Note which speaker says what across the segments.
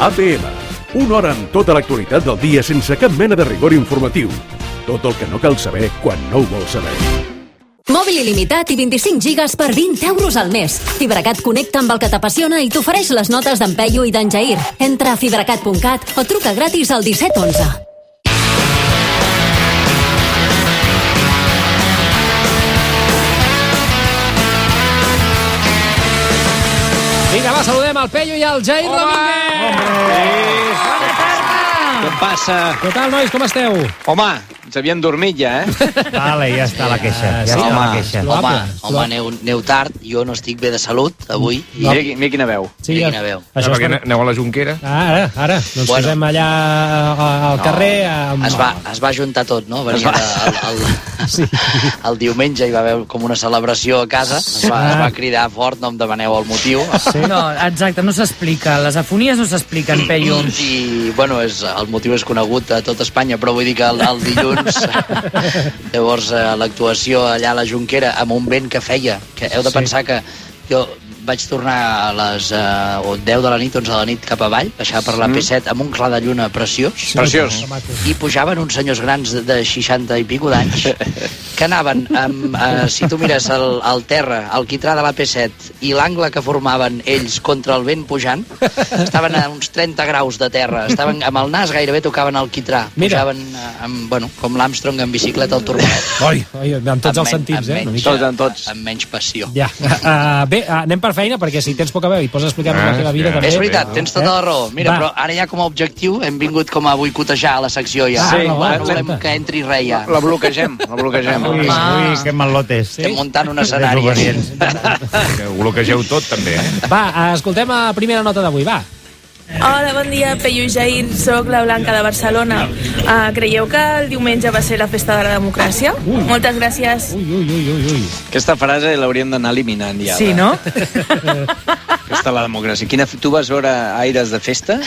Speaker 1: APM. Una hora amb tota l'actualitat del dia sense cap mena de rigor informatiu. Tot el que no cal saber quan no ho vols saber.
Speaker 2: Mòbil il·limitat i 25 gigas per 20 euros al mes. Fibracat connecta amb el que t'apassiona i t'ofereix les notes d'en Peyu i d'en Jair. Entra a fibracat.cat o truca gratis al 1711.
Speaker 3: Vinga, va, saludem el Peyu i el Jair Ramírez.
Speaker 4: Què passa?
Speaker 3: Què tal, nois? Com esteu?
Speaker 4: Home, ens havien dormit ja, eh?
Speaker 5: Vale, ja està la queixa.
Speaker 3: Ah,
Speaker 5: Ja
Speaker 3: sí,
Speaker 5: està la
Speaker 3: home.
Speaker 5: queixa.
Speaker 3: Lo-
Speaker 6: Home,
Speaker 3: Probable.
Speaker 6: home aneu, aneu tard, jo no estic bé de salut avui. I,
Speaker 4: Mira, qui- mira quina veu.
Speaker 6: Mira quina veu.
Speaker 3: Això
Speaker 7: no,
Speaker 3: és
Speaker 7: perquè
Speaker 3: per...
Speaker 7: aneu a la Junquera.
Speaker 3: Ah, ara, ara. No ens
Speaker 6: Bueno.
Speaker 3: posem allà a- al carrer... Amb...
Speaker 6: Es va, es va juntar tot, no? Venia de, el, el,
Speaker 3: Sí.
Speaker 6: el diumenge hi va haver com una celebració a casa, es va, es va cridar fort, no em demaneu el motiu,
Speaker 3: Sí. Mm.
Speaker 8: No, exacte, no s'explica. Les afonies no s'expliquen, Peyu.
Speaker 6: i bueno, és, el motiu és conegut a tot Espanya, però vull dir que el, el dilluns, llavors eh, l'actuació allà a la Junquera amb un vent que feia, que heu de
Speaker 3: Sí.
Speaker 6: pensar que jo vaig tornar a les eh, o 10 de la nit, 11 de la nit cap avall, baixar per la P7 amb un clar de lluna preciós,
Speaker 4: Preciós.
Speaker 6: i pujaven uns senyors grans de 60 i pico d'anys que anaven amb, eh, si tu mires el, el terra, el quitrà de la P7 i l'angle que formaven ells contra el vent pujant, estaven a uns 30 graus de terra, estaven amb el nas gairebé tocaven el quitrà,
Speaker 3: Mira.
Speaker 6: pujaven eh, amb, bueno, com l'Armstrong en bicicleta al turbonet.
Speaker 3: Oi, oi, amb tots els
Speaker 6: Amb men-
Speaker 3: sentits,
Speaker 6: amb
Speaker 3: eh? Una
Speaker 6: menys-
Speaker 3: mica.
Speaker 4: Tots, amb tots.
Speaker 6: Amb menys passió.
Speaker 3: Ja. Uh, bé, uh, anem per feina, perquè si tens poca veu i pots explicar-nos
Speaker 7: Ah,
Speaker 3: la teva vida,
Speaker 7: ja.
Speaker 3: també...
Speaker 6: És veritat, tens tota la raó. Mira,
Speaker 3: Va.
Speaker 6: però ara ja com a objectiu hem vingut com a boicotejar la secció ja.
Speaker 3: Sí,
Speaker 6: no,
Speaker 3: Ah, va,
Speaker 6: volem
Speaker 3: exacte.
Speaker 6: que entri res ja.
Speaker 4: La bloquegem, la bloquegem.
Speaker 5: Ui, ui, que malotes.
Speaker 6: Estem muntant un escenari.
Speaker 5: Desobedients.
Speaker 7: Que ho bloquegeu tot, també, eh?
Speaker 3: Va, eh, escoltem la primera nota d'avui, va.
Speaker 9: Hola, bon dia, Peyu Jair, sóc la Blanca de Barcelona. Uh, creieu que el diumenge va ser la festa de la democràcia?
Speaker 3: Ui.
Speaker 9: Moltes gràcies.
Speaker 3: Ui, ui, ui, ui, ui.
Speaker 4: Aquesta frase l'hauríem d'anar eliminant ja. eh?
Speaker 8: Sí, no?
Speaker 4: Aquesta la democràcia. Quina, f- tu vas veure aires de festa?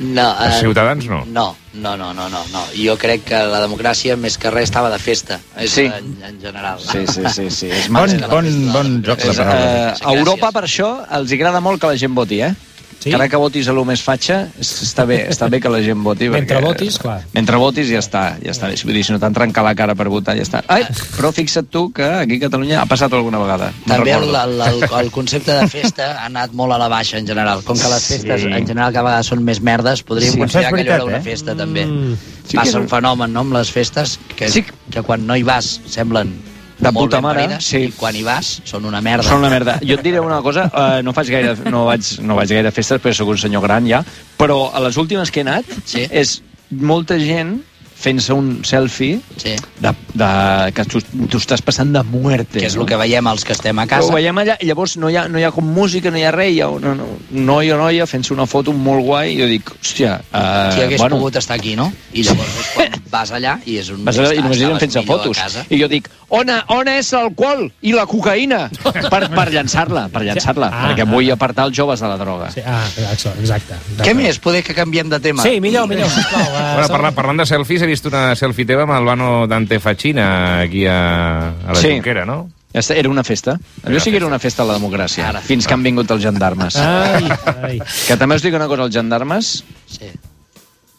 Speaker 6: No,
Speaker 7: Els
Speaker 6: eh,
Speaker 7: ciutadans no.
Speaker 6: No, no, no, no, no, no. Jo crec que la democràcia més que res estava de festa, és,
Speaker 4: Sí.
Speaker 6: en, en general.
Speaker 4: Sí, sí, sí. sí. És
Speaker 5: Bon, bon, bon joc de
Speaker 4: És,
Speaker 5: paraules.
Speaker 4: eh, a Europa, per això, els agrada molt que la gent voti, eh?
Speaker 3: Sí.
Speaker 4: Sí. Encara que votis a lo més fatxa, es- està bé, està bé que la gent voti.
Speaker 3: Mentre
Speaker 4: perquè-
Speaker 3: votis, clar.
Speaker 4: Mentre votis ja està, ja està. Vull dir, si no t'han trencat la cara per votar, ja està. Ai, però fixa't tu que aquí a Catalunya ha passat alguna vegada. me'n
Speaker 6: També el,
Speaker 4: recordo.
Speaker 6: el, el, el concepte de festa ha anat molt a la baixa en general. Com que les festes
Speaker 7: Sí.
Speaker 6: en general cada vegada són més merdes, podríem
Speaker 5: Sí,
Speaker 6: sí, considerar
Speaker 5: això és
Speaker 6: que allò era
Speaker 5: veritat,
Speaker 6: una
Speaker 5: eh?
Speaker 6: festa també.
Speaker 3: Mm.
Speaker 4: Sí que
Speaker 6: Passa
Speaker 4: és
Speaker 6: un
Speaker 4: un-
Speaker 6: fenomen, no?, amb les festes, que,
Speaker 4: Sí.
Speaker 6: sí. que quan no hi vas semblen
Speaker 4: De
Speaker 6: molt
Speaker 4: puta
Speaker 6: ben
Speaker 4: mare,
Speaker 6: parides,
Speaker 4: sí.
Speaker 6: i quan hi vas són una merda.
Speaker 4: Són una merda. Jo et diré una cosa, eh, no faig gaire, no vaig, no vaig gaire a festes perquè sóc un senyor gran ja, però a les últimes que he anat
Speaker 6: Sí.
Speaker 4: és molta gent fent-se un selfie
Speaker 6: Sí.
Speaker 4: de, de, que tu t'ho estàs passant de muerte.
Speaker 6: Que és el que veiem els que estem a
Speaker 4: Casa.
Speaker 6: casa.
Speaker 4: Ho veiem allà, i llavors no hi, ha, no hi ha com música, no hi ha res, hi ha una, no, un noi o noia fent-se una foto molt guai, i jo dic, hòstia, uh,
Speaker 6: si hagués
Speaker 4: bueno,
Speaker 6: pogut estar aquí, no? I llavors és quan vas allà i és un...
Speaker 4: vas allà i
Speaker 6: estàs-
Speaker 4: només eren
Speaker 6: estaves
Speaker 4: fent-se
Speaker 6: millor a
Speaker 4: fotos.
Speaker 6: casa.
Speaker 4: I jo dic, on, on és l'alcohol i la cocaïna? per, per llançar-la, per llançar-la,
Speaker 3: Ah,
Speaker 4: ah, perquè
Speaker 3: ah.
Speaker 4: vull apartar els joves de la droga.
Speaker 3: Sí, ah, exacte. exacte.
Speaker 6: Què més? Poder que canviem de tema.
Speaker 3: Sí, millor, millor, sisplau. eh,
Speaker 7: Bueno,
Speaker 3: segon-
Speaker 7: parlant, parlant de selfies, he vist una selfie teva amb el Bano Dante Facina aquí a, a la
Speaker 4: Sí.
Speaker 7: Junquera, no?
Speaker 4: Ja està, Era una festa.
Speaker 7: una
Speaker 4: Allò sí que era una festa a la democràcia,
Speaker 6: Ara.
Speaker 4: fins que han vingut els gendarmes.
Speaker 3: Ai, ai.
Speaker 4: Que també us dic una cosa, els gendarmes...
Speaker 6: Sí.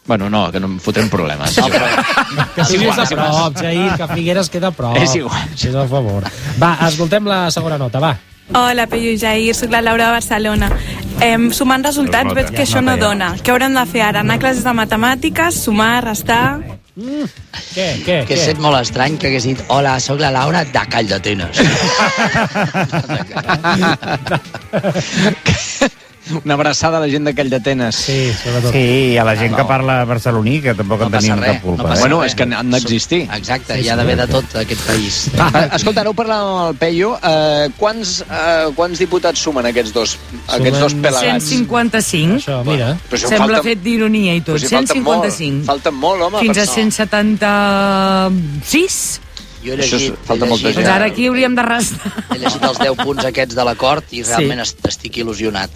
Speaker 4: Bueno, no, que no em fotrem problemes.
Speaker 6: No, però...
Speaker 3: Que siguis
Speaker 4: igual,
Speaker 3: a prop, Jair, que Figueres queda a prop.
Speaker 4: És igual.
Speaker 3: Fes el favor. Va, escoltem la segona nota, va.
Speaker 9: Hola, Peyu Jair, sóc la Laura de Barcelona. Em, sumant resultats
Speaker 7: Nota,
Speaker 9: veig
Speaker 7: ja,
Speaker 9: que això
Speaker 7: nota, ja.
Speaker 9: no
Speaker 3: eh?
Speaker 9: dona. Què haurem de fer ara? Anar a classes de matemàtiques, sumar, restar...
Speaker 3: Què, què,
Speaker 6: Que
Speaker 3: què?
Speaker 6: és molt estrany que hagués dit Hola, sóc la Laura de Calldetenes.
Speaker 4: Una abraçada a la gent de Calldetenes.
Speaker 3: Sí, sobretot.
Speaker 5: Sí, i a la gent que parla barceloní, que tampoc
Speaker 6: No
Speaker 5: en
Speaker 6: passa
Speaker 5: tenim
Speaker 6: res.
Speaker 5: cap culpa.
Speaker 6: no
Speaker 7: eh?
Speaker 6: passa
Speaker 4: Bueno,
Speaker 6: res.
Speaker 4: és que han d'existir.
Speaker 6: Exacte, hi ha d'haver de tot aquest país.
Speaker 4: Ah, escolta, aneu parlant amb el Peyu. Uh, quants, uh, quants diputats sumen aquests dos, aquests dos pelagats?
Speaker 8: 155.
Speaker 3: Això, mira.
Speaker 4: Però si en
Speaker 8: Sembla
Speaker 4: falten-
Speaker 8: fet d'ironia i tot.
Speaker 4: Però si falten
Speaker 8: 155.
Speaker 4: Molt, falten molt, home.
Speaker 8: Fins
Speaker 4: per
Speaker 8: a
Speaker 4: no.
Speaker 8: 176.
Speaker 6: Jo he
Speaker 10: Això és-
Speaker 6: llegit,
Speaker 10: falta
Speaker 6: he
Speaker 10: molta
Speaker 6: llegit,
Speaker 10: gent.
Speaker 8: Doncs ara aquí hauríem de restar.
Speaker 6: He llegit els 10 punts aquests de l'acord i realment est- estic il·lusionat.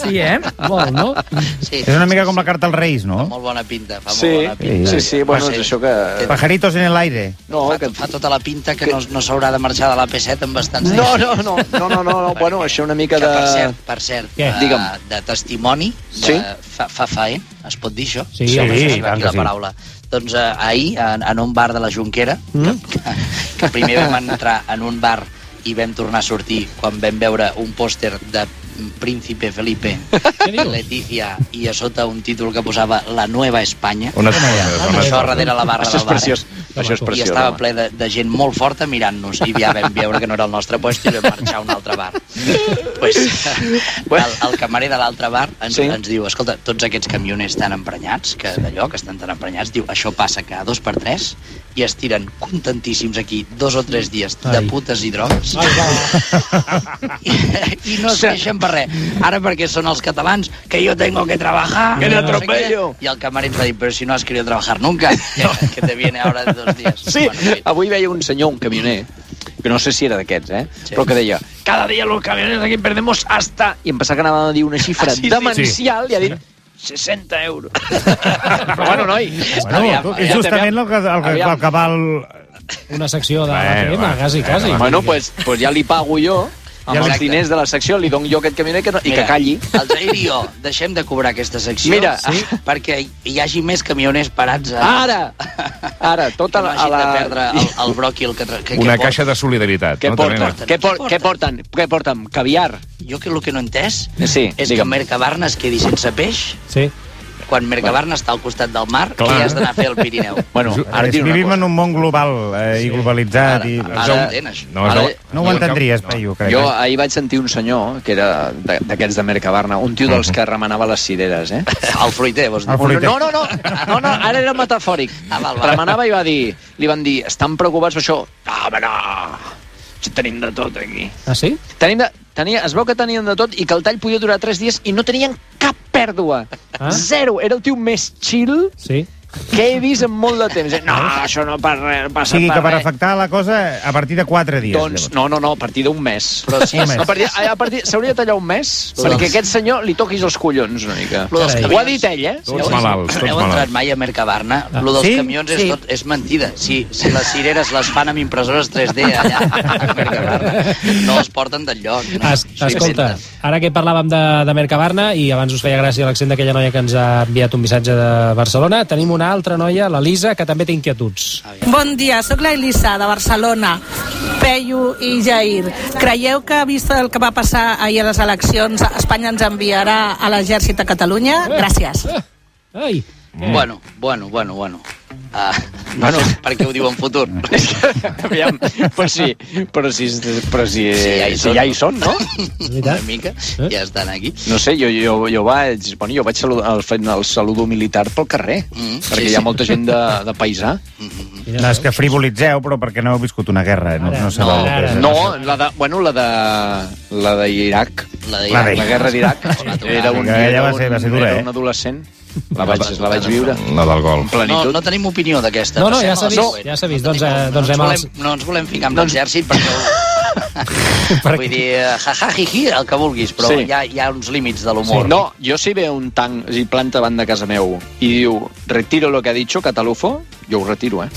Speaker 8: Sí, eh?
Speaker 3: Molt, no?
Speaker 6: Sí,
Speaker 7: És una mica com la carta als Reis, no?
Speaker 6: molt bona pinta, fa
Speaker 10: Sí,
Speaker 6: molt bona pinta.
Speaker 10: sí, sí,
Speaker 4: Ah,
Speaker 10: bueno, és això que...
Speaker 7: Pajaritos en el aire.
Speaker 6: No,
Speaker 4: No,
Speaker 6: fa,
Speaker 4: Oh, que...
Speaker 6: fa tota la pinta que, no, no s'haurà de marxar de la P7 amb bastants
Speaker 4: No,
Speaker 6: dies.
Speaker 4: no, no, no, no, no, no. bueno, això una mica
Speaker 6: Que,
Speaker 4: de...
Speaker 6: per cert, per cert,
Speaker 7: Què?
Speaker 6: eh,
Speaker 4: Digue'm.
Speaker 6: de testimoni, de
Speaker 4: Sí?
Speaker 6: fa, fa faen, es pot dir això?
Speaker 7: Sí, home, sí,
Speaker 6: sí,
Speaker 7: i tant
Speaker 6: aquí
Speaker 7: que
Speaker 6: la
Speaker 7: sí.
Speaker 6: paraula. Doncs eh, ahir, en, en un bar de la Jonquera,
Speaker 4: Mm.
Speaker 6: que, que, que primer vam entrar en un bar i vam tornar a sortir quan vam veure un pòster de Príncipe Felipe,
Speaker 3: dius?
Speaker 6: Leticia, i a sota un títol que posava La Nueva Espanya,
Speaker 11: Unes coses,
Speaker 6: amb
Speaker 11: unes
Speaker 6: això
Speaker 11: coses.
Speaker 6: darrere la barra
Speaker 4: Això
Speaker 6: del
Speaker 4: és
Speaker 6: bar. eh?
Speaker 4: preciós, això és
Speaker 6: I
Speaker 4: preciós.
Speaker 6: estava
Speaker 4: home.
Speaker 6: ple de, de gent molt forta mirant-nos i ja vam veure que no era el nostre lloc i vam marxar a un altre bar. pues, el, el camarer de l'altre bar ens,
Speaker 4: Sí.
Speaker 6: sí. ens diu, escolta, tots aquests camioners tan emprenyats, que d'allò, que estan tan emprenyats, diu, això passa cada dos per tres i es tiren contentíssims aquí dos o tres dies de putes i drogues. I, I no es queixen per res. Ara perquè són els catalans, que jo tengo que trabajar.
Speaker 4: Que te
Speaker 6: no sé
Speaker 4: atropello.
Speaker 6: què. I el camarer ens va dir, però si no has querido trabajar nunca, que, que te viene ahora en dos días.
Speaker 4: Sí, Ah,
Speaker 6: Bueno,
Speaker 4: avui veia un senyor, un camioner, que no sé si era d'aquests, eh?
Speaker 6: Sí.
Speaker 4: Però que deia, cada dia los camiones aquí perdemos hasta... I em pensava que anava a dir una xifra
Speaker 6: sí, sí.
Speaker 4: demencial i ha dit 60 euros. Però bueno, noi,
Speaker 7: Bueno, tu, és justament el que, el que,
Speaker 4: Aviam.
Speaker 7: el que val...
Speaker 3: Una secció de
Speaker 7: Bueno,
Speaker 3: l'ATM,
Speaker 7: bueno,
Speaker 3: quasi, quasi.
Speaker 4: Bueno, pues, pues ja li pago jo, amb
Speaker 7: Ja
Speaker 4: els
Speaker 6: li-
Speaker 4: diners de la secció, li dono jo aquest camioner que no, i
Speaker 6: Mira,
Speaker 4: que calli.
Speaker 6: El Jair i jo deixem de cobrar aquesta secció
Speaker 4: Mira,
Speaker 6: sí? perquè hi hagi més camioners parats a...
Speaker 4: Ara! Ara,
Speaker 6: que
Speaker 4: tota
Speaker 6: no
Speaker 4: la...
Speaker 6: hagin
Speaker 4: la...
Speaker 6: de perdre el, el bròquil que, tra- que, que
Speaker 11: Una
Speaker 6: porta.
Speaker 11: caixa de solidaritat.
Speaker 4: Què
Speaker 11: no? També,
Speaker 4: porten?
Speaker 11: no?
Speaker 4: Què, por...
Speaker 6: Porten.
Speaker 4: què porten? Què porten? Caviar?
Speaker 6: Jo que el que no he entès
Speaker 4: Sí,
Speaker 6: és
Speaker 4: digue'm.
Speaker 6: que Mercabarna es quedi sense peix
Speaker 3: Sí.
Speaker 6: quan Mercabarna està al costat del mar
Speaker 11: Clar.
Speaker 6: i has d'anar a fer el Pirineu.
Speaker 4: Bueno, ara
Speaker 7: és,
Speaker 4: et diré
Speaker 7: vivim
Speaker 4: una
Speaker 7: en
Speaker 4: cosa.
Speaker 7: un món global eh, i globalitzat.
Speaker 6: Ara,
Speaker 7: I,
Speaker 6: ara, ara entén, això.
Speaker 11: No, es
Speaker 4: Ara-
Speaker 11: veu-
Speaker 7: no ho
Speaker 11: es veu-
Speaker 7: entendries,
Speaker 11: no.
Speaker 7: Peyu, crec. eh?
Speaker 4: Jo ahir vaig sentir un senyor, que era de- d'aquests de Mercabarna, un tio dels que remenava les cireres, eh?
Speaker 6: El fruiter, vols dir?
Speaker 7: El Ah, fruiter.
Speaker 4: No, no, no, no, no ara era metafòric.
Speaker 6: Ah, val, val.
Speaker 4: Remenava i va dir, li van dir, estan preocupats per això? No, home, no, si tenim de tot aquí.
Speaker 3: Ah, sí?
Speaker 4: Tenim de, tenia, es veu que tenien de tot i que el tall podia durar 3 dies i no tenien cap pèrdua.
Speaker 3: Ah.
Speaker 4: Zero. Era el tio més chill
Speaker 3: Sí.
Speaker 4: que he vist en molt de temps. Eh, No, això no per res,
Speaker 7: Ah? O
Speaker 4: passa
Speaker 7: sigui que per
Speaker 4: res. eh?"
Speaker 7: afectar la cosa a partir de 4 dies.
Speaker 4: Doncs, no, no, no, a partir d'un mes.
Speaker 6: Però sí,
Speaker 7: Un mes.
Speaker 4: A partir, a partir, s'hauria de tallar un mes perquè a aquest senyor li toquis els collons una mica.
Speaker 6: Lo dels
Speaker 4: Ho ha dit ell, eh?
Speaker 11: Tots malalts,
Speaker 6: Heu
Speaker 11: tots
Speaker 6: entrat
Speaker 11: malalts.
Speaker 6: mai a Mercabarna? Ah. Lo dels
Speaker 7: Sí?
Speaker 6: sí? camions és,
Speaker 8: Sí.
Speaker 6: tot, és mentida. Si, si les cireres les fan amb impressores 3D allà a Mercabarna, no es porten d'enlloc. No?
Speaker 3: Es,
Speaker 6: S'ho
Speaker 3: escolta,
Speaker 6: inventen.
Speaker 3: ara que parlàvem de, de Mercabarna i abans us feia gràcia l'accent d'aquella noia que ens ha enviat un missatge de Barcelona, tenim una altra noia, la Lisa, que també té inquietuds.
Speaker 9: Bon dia, sóc la Elisa, de Barcelona. Peyu i Jair, creieu que, vist el que va passar ahir a les eleccions, Espanya ens enviarà a l'exèrcit a Catalunya?
Speaker 12: Ah,
Speaker 9: Gràcies.
Speaker 3: Ah, Ai,
Speaker 4: Mm.
Speaker 6: Bueno, bueno, bueno, bueno. Uh, no bueno. sé per què ho diu en futur.
Speaker 4: Eh, Aviam, però sí, però sí, però sí,
Speaker 6: Sí, ja hi
Speaker 4: sí,
Speaker 6: són.
Speaker 4: ja hi són, no?
Speaker 3: és
Speaker 6: Una
Speaker 3: veritat.
Speaker 6: mica,
Speaker 3: Eh?
Speaker 6: ja estan aquí.
Speaker 4: No sé, jo, jo, jo vaig, bueno, jo vaig saludar, el, fet- el saludo militar pel carrer,
Speaker 6: Mm,
Speaker 4: perquè
Speaker 6: sí,
Speaker 4: hi ha
Speaker 6: sí.
Speaker 4: molta gent de, de paisà.
Speaker 7: No, és que frivolitzeu, però perquè no heu viscut una guerra. No, no sabeu
Speaker 3: No,
Speaker 7: el que és.
Speaker 3: ara.
Speaker 4: No, la de, bueno, la de, la d'Iraq,
Speaker 6: La
Speaker 7: La
Speaker 6: d'Iraq.
Speaker 7: de-
Speaker 4: la guerra d'Iraq, era un,
Speaker 7: Aquella
Speaker 4: era
Speaker 7: va ser- va ser dura,
Speaker 4: era
Speaker 7: eh?
Speaker 4: un adolescent, la vaig, la vaig viure.
Speaker 11: La del gol.
Speaker 6: No,
Speaker 4: Plenitud.
Speaker 6: no tenim opinió d'aquesta.
Speaker 3: No, no, ja
Speaker 6: Passem a
Speaker 3: s'ha
Speaker 6: la
Speaker 3: vist,
Speaker 6: següent.
Speaker 3: ja s'ha vist. Doncs,
Speaker 6: tenim-
Speaker 3: eh, doncs
Speaker 6: no, ens
Speaker 3: anem als-
Speaker 6: volem, no ens volem ficar amb l'exèrcit perquè... ho-
Speaker 3: Per-
Speaker 6: Vull dir, eh, ja, ja, hi, hi, el que vulguis, però
Speaker 4: Sí.
Speaker 6: hi, ha, hi ha uns límits de l'humor.
Speaker 4: No, jo si ve un tanc i planta davant de casa meu i diu retiro lo que ha dicho Catalufo, jo ho retiro, eh?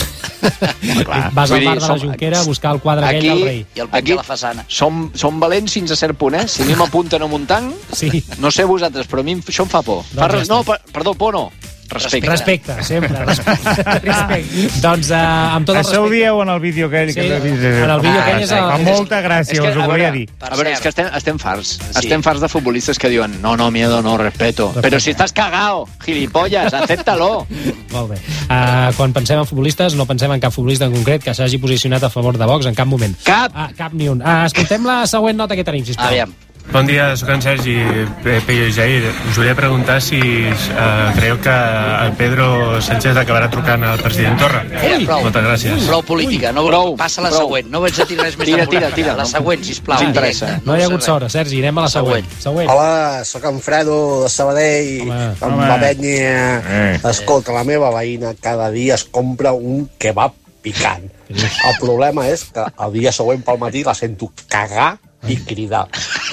Speaker 3: Vas al
Speaker 4: Vull
Speaker 3: bar
Speaker 4: dir,
Speaker 3: de la
Speaker 4: som-
Speaker 3: Junquera a buscar el quadre aquell del rei.
Speaker 6: I el penja a la façana.
Speaker 4: Som, som valents fins a cert punt, eh? Si a mi m'apunten amb un tanc,
Speaker 3: Sí.
Speaker 4: no sé vosaltres, però a mi em- això em fa por. Fa
Speaker 3: Doncs ja
Speaker 4: res,
Speaker 3: està.
Speaker 4: no, per, perdó, por no. Respecte.
Speaker 3: Respecte, sempre. Respecte. respecte. Doncs eh, amb tot el
Speaker 7: Això ho
Speaker 3: respecte...
Speaker 7: dieu en el vídeo aquell.
Speaker 3: Sí,
Speaker 7: que l'he vist.
Speaker 3: en el vídeo aquell és el-
Speaker 7: Fa molta gràcia,
Speaker 4: És que,
Speaker 7: us ho
Speaker 4: a
Speaker 7: volia
Speaker 4: veure,
Speaker 7: dir.
Speaker 6: Per
Speaker 4: A veure,
Speaker 6: cert.
Speaker 4: és que estem, estem farts.
Speaker 6: Sí.
Speaker 4: Estem farts de futbolistes que diuen no, no, miedo, no, respeto.
Speaker 3: Respecte.
Speaker 4: Però
Speaker 7: eh.
Speaker 4: si estàs cagao, gilipollas, acéptalo.
Speaker 3: Molt bé. Uh, quan pensem en futbolistes, no pensem en cap futbolista en concret que s'hagi posicionat a favor de Vox en cap moment.
Speaker 4: Cap.
Speaker 3: Ah, cap ni un. Uh, escoltem la següent nota que tenim, sisplau.
Speaker 6: Aviam,
Speaker 13: Bon dia, sóc en Sergi Pe- Pello i Jair. Us volia preguntar si eh, creieu que el Pedro Sánchez acabarà trucant al president Torra.
Speaker 6: Ui.
Speaker 13: Moltes gràcies.
Speaker 6: prou política. No,
Speaker 4: Prou,
Speaker 6: passa la
Speaker 4: prou.
Speaker 6: següent. No vaig a dir res més
Speaker 4: Tira,
Speaker 6: de política.
Speaker 4: tira, tira.
Speaker 6: La següent, sisplau.
Speaker 4: Ens interessa.
Speaker 6: directe.
Speaker 3: No hi ha
Speaker 6: sé
Speaker 3: hagut
Speaker 6: res.
Speaker 3: sort, Sergi. Anem a la següent. Següent.
Speaker 13: Hola, sóc en Fredo, de Sabadell.
Speaker 3: Home,
Speaker 7: Home.
Speaker 13: penya.
Speaker 7: Eh.
Speaker 13: Escolta, la meva veïna cada dia es compra un kebab
Speaker 12: picant. El problema és que el dia següent pel matí la sento cagar i cridar.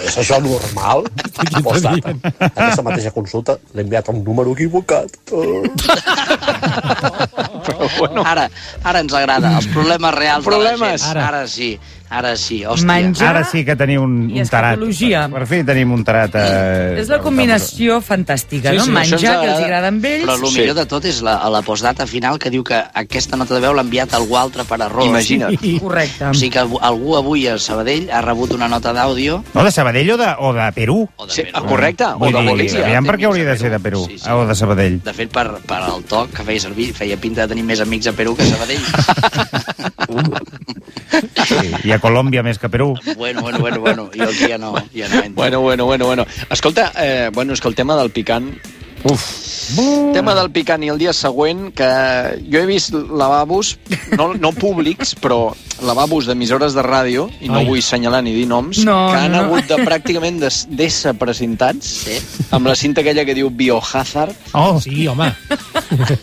Speaker 12: És això normal? Postdata. Aquesta mateixa consulta l'he enviat a un número equivocat.
Speaker 7: Oh,
Speaker 6: Bueno. Ara, ara ens agrada. Els problemes reals
Speaker 7: Problemes.
Speaker 6: de la gent.
Speaker 7: Ara.
Speaker 6: Ara sí, ara sí. Hòstia.
Speaker 7: Ara sí que teniu un,
Speaker 6: i
Speaker 7: un tarat. Per fi tenim un tarat. Eh,
Speaker 8: És la combinació fantàstica, no? Menjar, que els agrada amb ells.
Speaker 6: Però el millor de tot és la, a la postdata final que diu que aquesta nota de veu l'ha enviat algú altre per error.
Speaker 7: Imagina't.
Speaker 8: Correcte.
Speaker 6: O sigui que algú- algú avui a Sabadell ha rebut una nota d'àudio
Speaker 7: No, de Sabadell o de, o de Perú. O
Speaker 6: de Sí,
Speaker 4: ah,
Speaker 6: Perú. correcte, o de Bolívia.
Speaker 7: Aviam per què hauria de ser de Perú, sí, sí. o de Sabadell.
Speaker 6: De fet, per, per el toc que feia servir, feia pinta de tenir més amics a Perú que a Sabadell.
Speaker 7: Sí. I a Colòmbia més que a Perú.
Speaker 6: bueno, bueno, bueno, bueno, jo aquí ja no, ja no entro.
Speaker 4: Bueno, bueno, bueno, bueno. Escolta, eh, bueno, és que el tema del picant... Uf. Tema del picant i el dia següent, que jo he vist lavabos, no, no públics, però lavabos d'emissores de ràdio, i
Speaker 14: Ai.
Speaker 4: no Ai. vull assenyalar ni dir noms,
Speaker 14: No,
Speaker 4: que han
Speaker 14: no, no.
Speaker 4: hagut de pràcticament des- d'ésser presentats sí. amb la cinta aquella que diu Biohazard,
Speaker 3: Oh. Sí, home.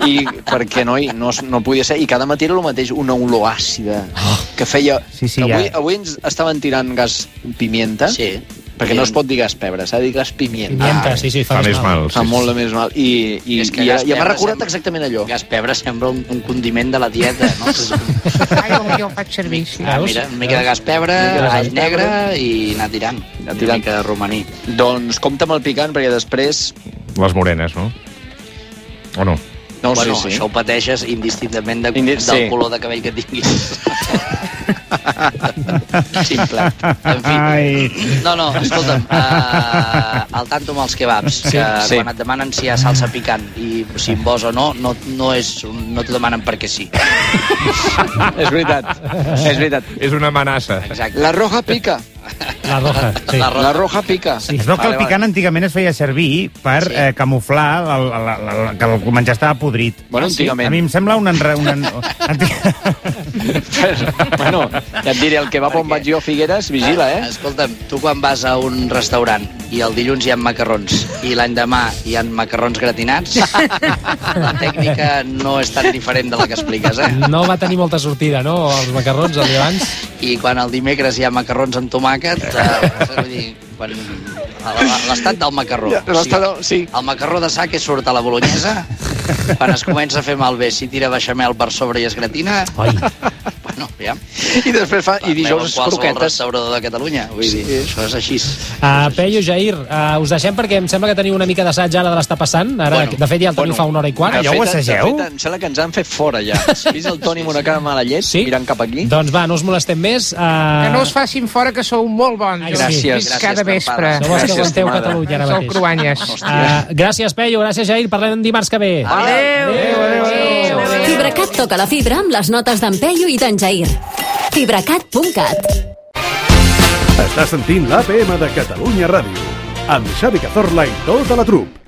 Speaker 4: i perquè no, i no, es- no podia ser i cada matí era el mateix, una olor àcida
Speaker 14: Ah.
Speaker 4: que feia... Sí,
Speaker 7: sí,
Speaker 4: avui,
Speaker 7: ja.
Speaker 4: avui ens estaven tirant gas pimienta sí. eh? perquè no es pot dir gas pebre s'ha de dir gas pimienta,
Speaker 3: Pimienta, sí, sí, fa Fa més més mal. mal,
Speaker 4: fa
Speaker 3: sí,
Speaker 4: molt
Speaker 3: sí.
Speaker 4: de més mal i, i,
Speaker 6: És que
Speaker 4: i,
Speaker 6: gas
Speaker 4: i m'ha
Speaker 6: pebre
Speaker 4: recordat
Speaker 6: sembla-
Speaker 4: exactament allò
Speaker 6: gas pebre sembla un, un condiment de la dieta, no?
Speaker 15: Ai, jo ho faig servir, sí.
Speaker 6: Ah, mira, una mica de gas pebre,
Speaker 4: Una mica de gas
Speaker 6: all negre i anar tirant.
Speaker 4: Anar tirant.
Speaker 6: Una mica de romaní.
Speaker 4: doncs compta amb el picant perquè després
Speaker 11: Les morenes, no? O no?
Speaker 4: No ho sé,
Speaker 6: bueno,
Speaker 4: sí.
Speaker 6: això ho pateixes indistintament de,
Speaker 4: Indi-
Speaker 6: del
Speaker 4: sí.
Speaker 6: color de cabell que tinguis. Simple. En fi.
Speaker 7: Ai.
Speaker 6: No, no, escolta'm, uh, el tanto amb els kebabs,
Speaker 7: Sí,
Speaker 6: sí, que
Speaker 7: sí.
Speaker 6: sí. quan et demanen si hi ha salsa picant i si en vols o no, no, no, és, un- no t'ho demanen perquè sí.
Speaker 4: és veritat, és veritat
Speaker 11: És una amenaça.
Speaker 6: Exacte.
Speaker 4: la roja pica
Speaker 3: La roja, sí.
Speaker 4: la roja, la roja pica
Speaker 7: Sí. Es veu que el picant antigament es feia servir per sí. eh, camuflar el, el, el, el, que el menjar estava podrit.
Speaker 4: Bueno, antigament.
Speaker 7: A mi em sembla un... Enre, un en...
Speaker 4: bueno, ja et diré, el que va on vaig jo a Figueres, vigila, eh?
Speaker 6: Escolta'm, tu quan vas a un restaurant i el dilluns hi ha macarrons i l'endemà hi ha macarrons gratinats, la tècnica no és tan diferent de la que expliques, eh?
Speaker 3: No va tenir molta sortida, no, els macarrons, el dia abans?
Speaker 6: I quan el dimecres hi ha macarrons amb tomàquet, eh, vull dir, quan... a la- L'estat del macarró.
Speaker 4: Ja, l'estat del- sí.
Speaker 6: El macarró de sac és surt a la bolognesa, quan es comença a fer malbé, s'hi tira beixamel per sobre i es gratina... Ai. Bueno, ja.
Speaker 4: I després fa...
Speaker 6: I
Speaker 4: dijous
Speaker 6: es croquetes.
Speaker 4: croquetes.
Speaker 6: restaurador de Catalunya, vull dir, sí. això és així.
Speaker 3: Uh, Peyu, Jair, uh, us deixem perquè em sembla que teniu una mica d'assaig ara de l'estar passant. Ara, bueno, de fet, Ah, ja el teniu bueno, fa una hora i quart.
Speaker 4: De fet, De fet, em sembla que ens han fet fora ja. Has vist el Toni amb una cara mala llet sí? mirant cap aquí?
Speaker 3: Doncs va, no us molestem més. Uh...
Speaker 15: Que no us facin fora, que sou molt bons. Jo
Speaker 3: Gràcies.
Speaker 15: us visc
Speaker 3: Gràcies,
Speaker 15: cada vespre.
Speaker 3: No vols que aguanteu
Speaker 15: estimada.
Speaker 3: Catalunya ara
Speaker 15: Sou
Speaker 3: mateix.
Speaker 15: cruanyes.
Speaker 4: Ah.
Speaker 3: Uh, gràcies, Peyu, gràcies, Jair. Parlem dimarts que ve.
Speaker 6: 아, 네.
Speaker 15: Adéu. Adéu, adéu, adéu.
Speaker 2: FibraCat toca la fibra amb les notes d'en Peyu i d'en Jair. FibraCat.cat
Speaker 1: Estàs sentint l'APM de Catalunya Ràdio amb Xavi Cazorla i tota la trup.